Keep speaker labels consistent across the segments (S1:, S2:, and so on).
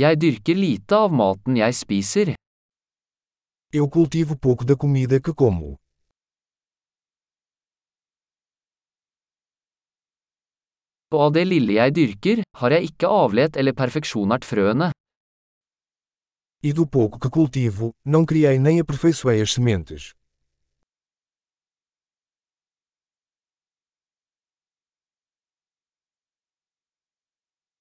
S1: Jeg dyrker lite av maten jeg spiser.
S2: Eu cultivo pouco da comida que como.
S1: Og av det lille jeg dyrker, har jeg ikke avlet eller perfeksjonert frøene.
S2: E do pouco que cultivo, não criei nem aperfeiçoei as sementes.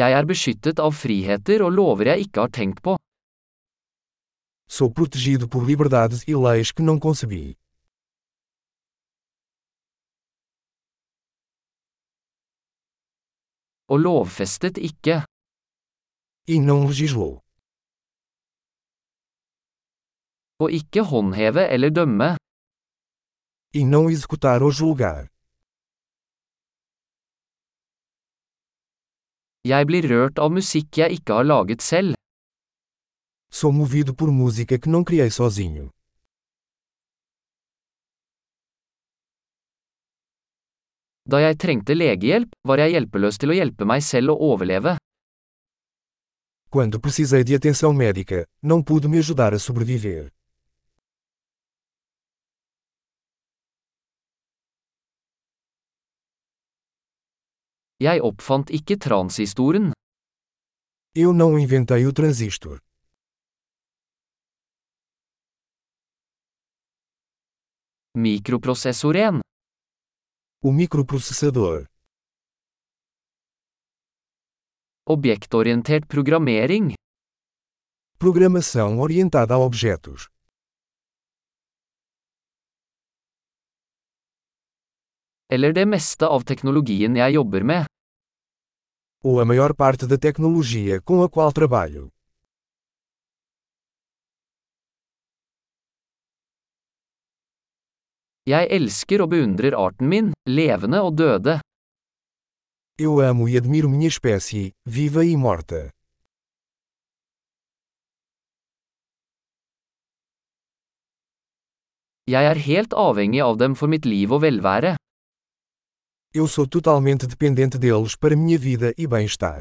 S1: Jeg er beskyttet av friheter og lover jeg ikke har tenkt på.
S2: Sou protegido por liberdades e leis que não concebi.
S1: Og lovfestet ikke.
S2: E não legislou.
S1: Og ikke håndheve eller dømme.
S2: E não executar ou julgar.
S1: Jeg blir rørt av musikk jeg ikke har laget selv.
S2: Sou movido por música que não criei sozinho.
S1: Da jeg trengte legehjelp, var jeg hjelpeløs til å hjelpe meg selv å overleve.
S2: Quando precisei de atenção médica, não pude me ajudar a sobreviver.
S1: Jeg oppfant ikke transistoren.
S2: Eu não inventei o transistor.
S1: Mikroprosessoren.
S2: O microprocessador.
S1: Objektorientert programmering.
S2: Programação orientada a objetos.
S1: Eller det meste av teknologien jeg jobber med.
S2: Ou a maior parte da tecnologia com a qual trabalho.
S1: Jeg elsker og beundrer arten min, levende og døde.
S2: Eu amo e admiro minha espécie, viva e morta.
S1: Jeg er helt avhengig av dem for mitt liv og velvære.
S2: Eu sou totalmente dependente deles para minha vida e bem-estar.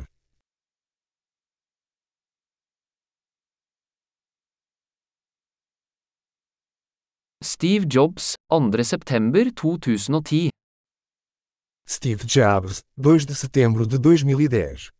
S1: Steve Jobs, 2. september 2010.
S2: Steve Jobs, 2 de setembro de 2010.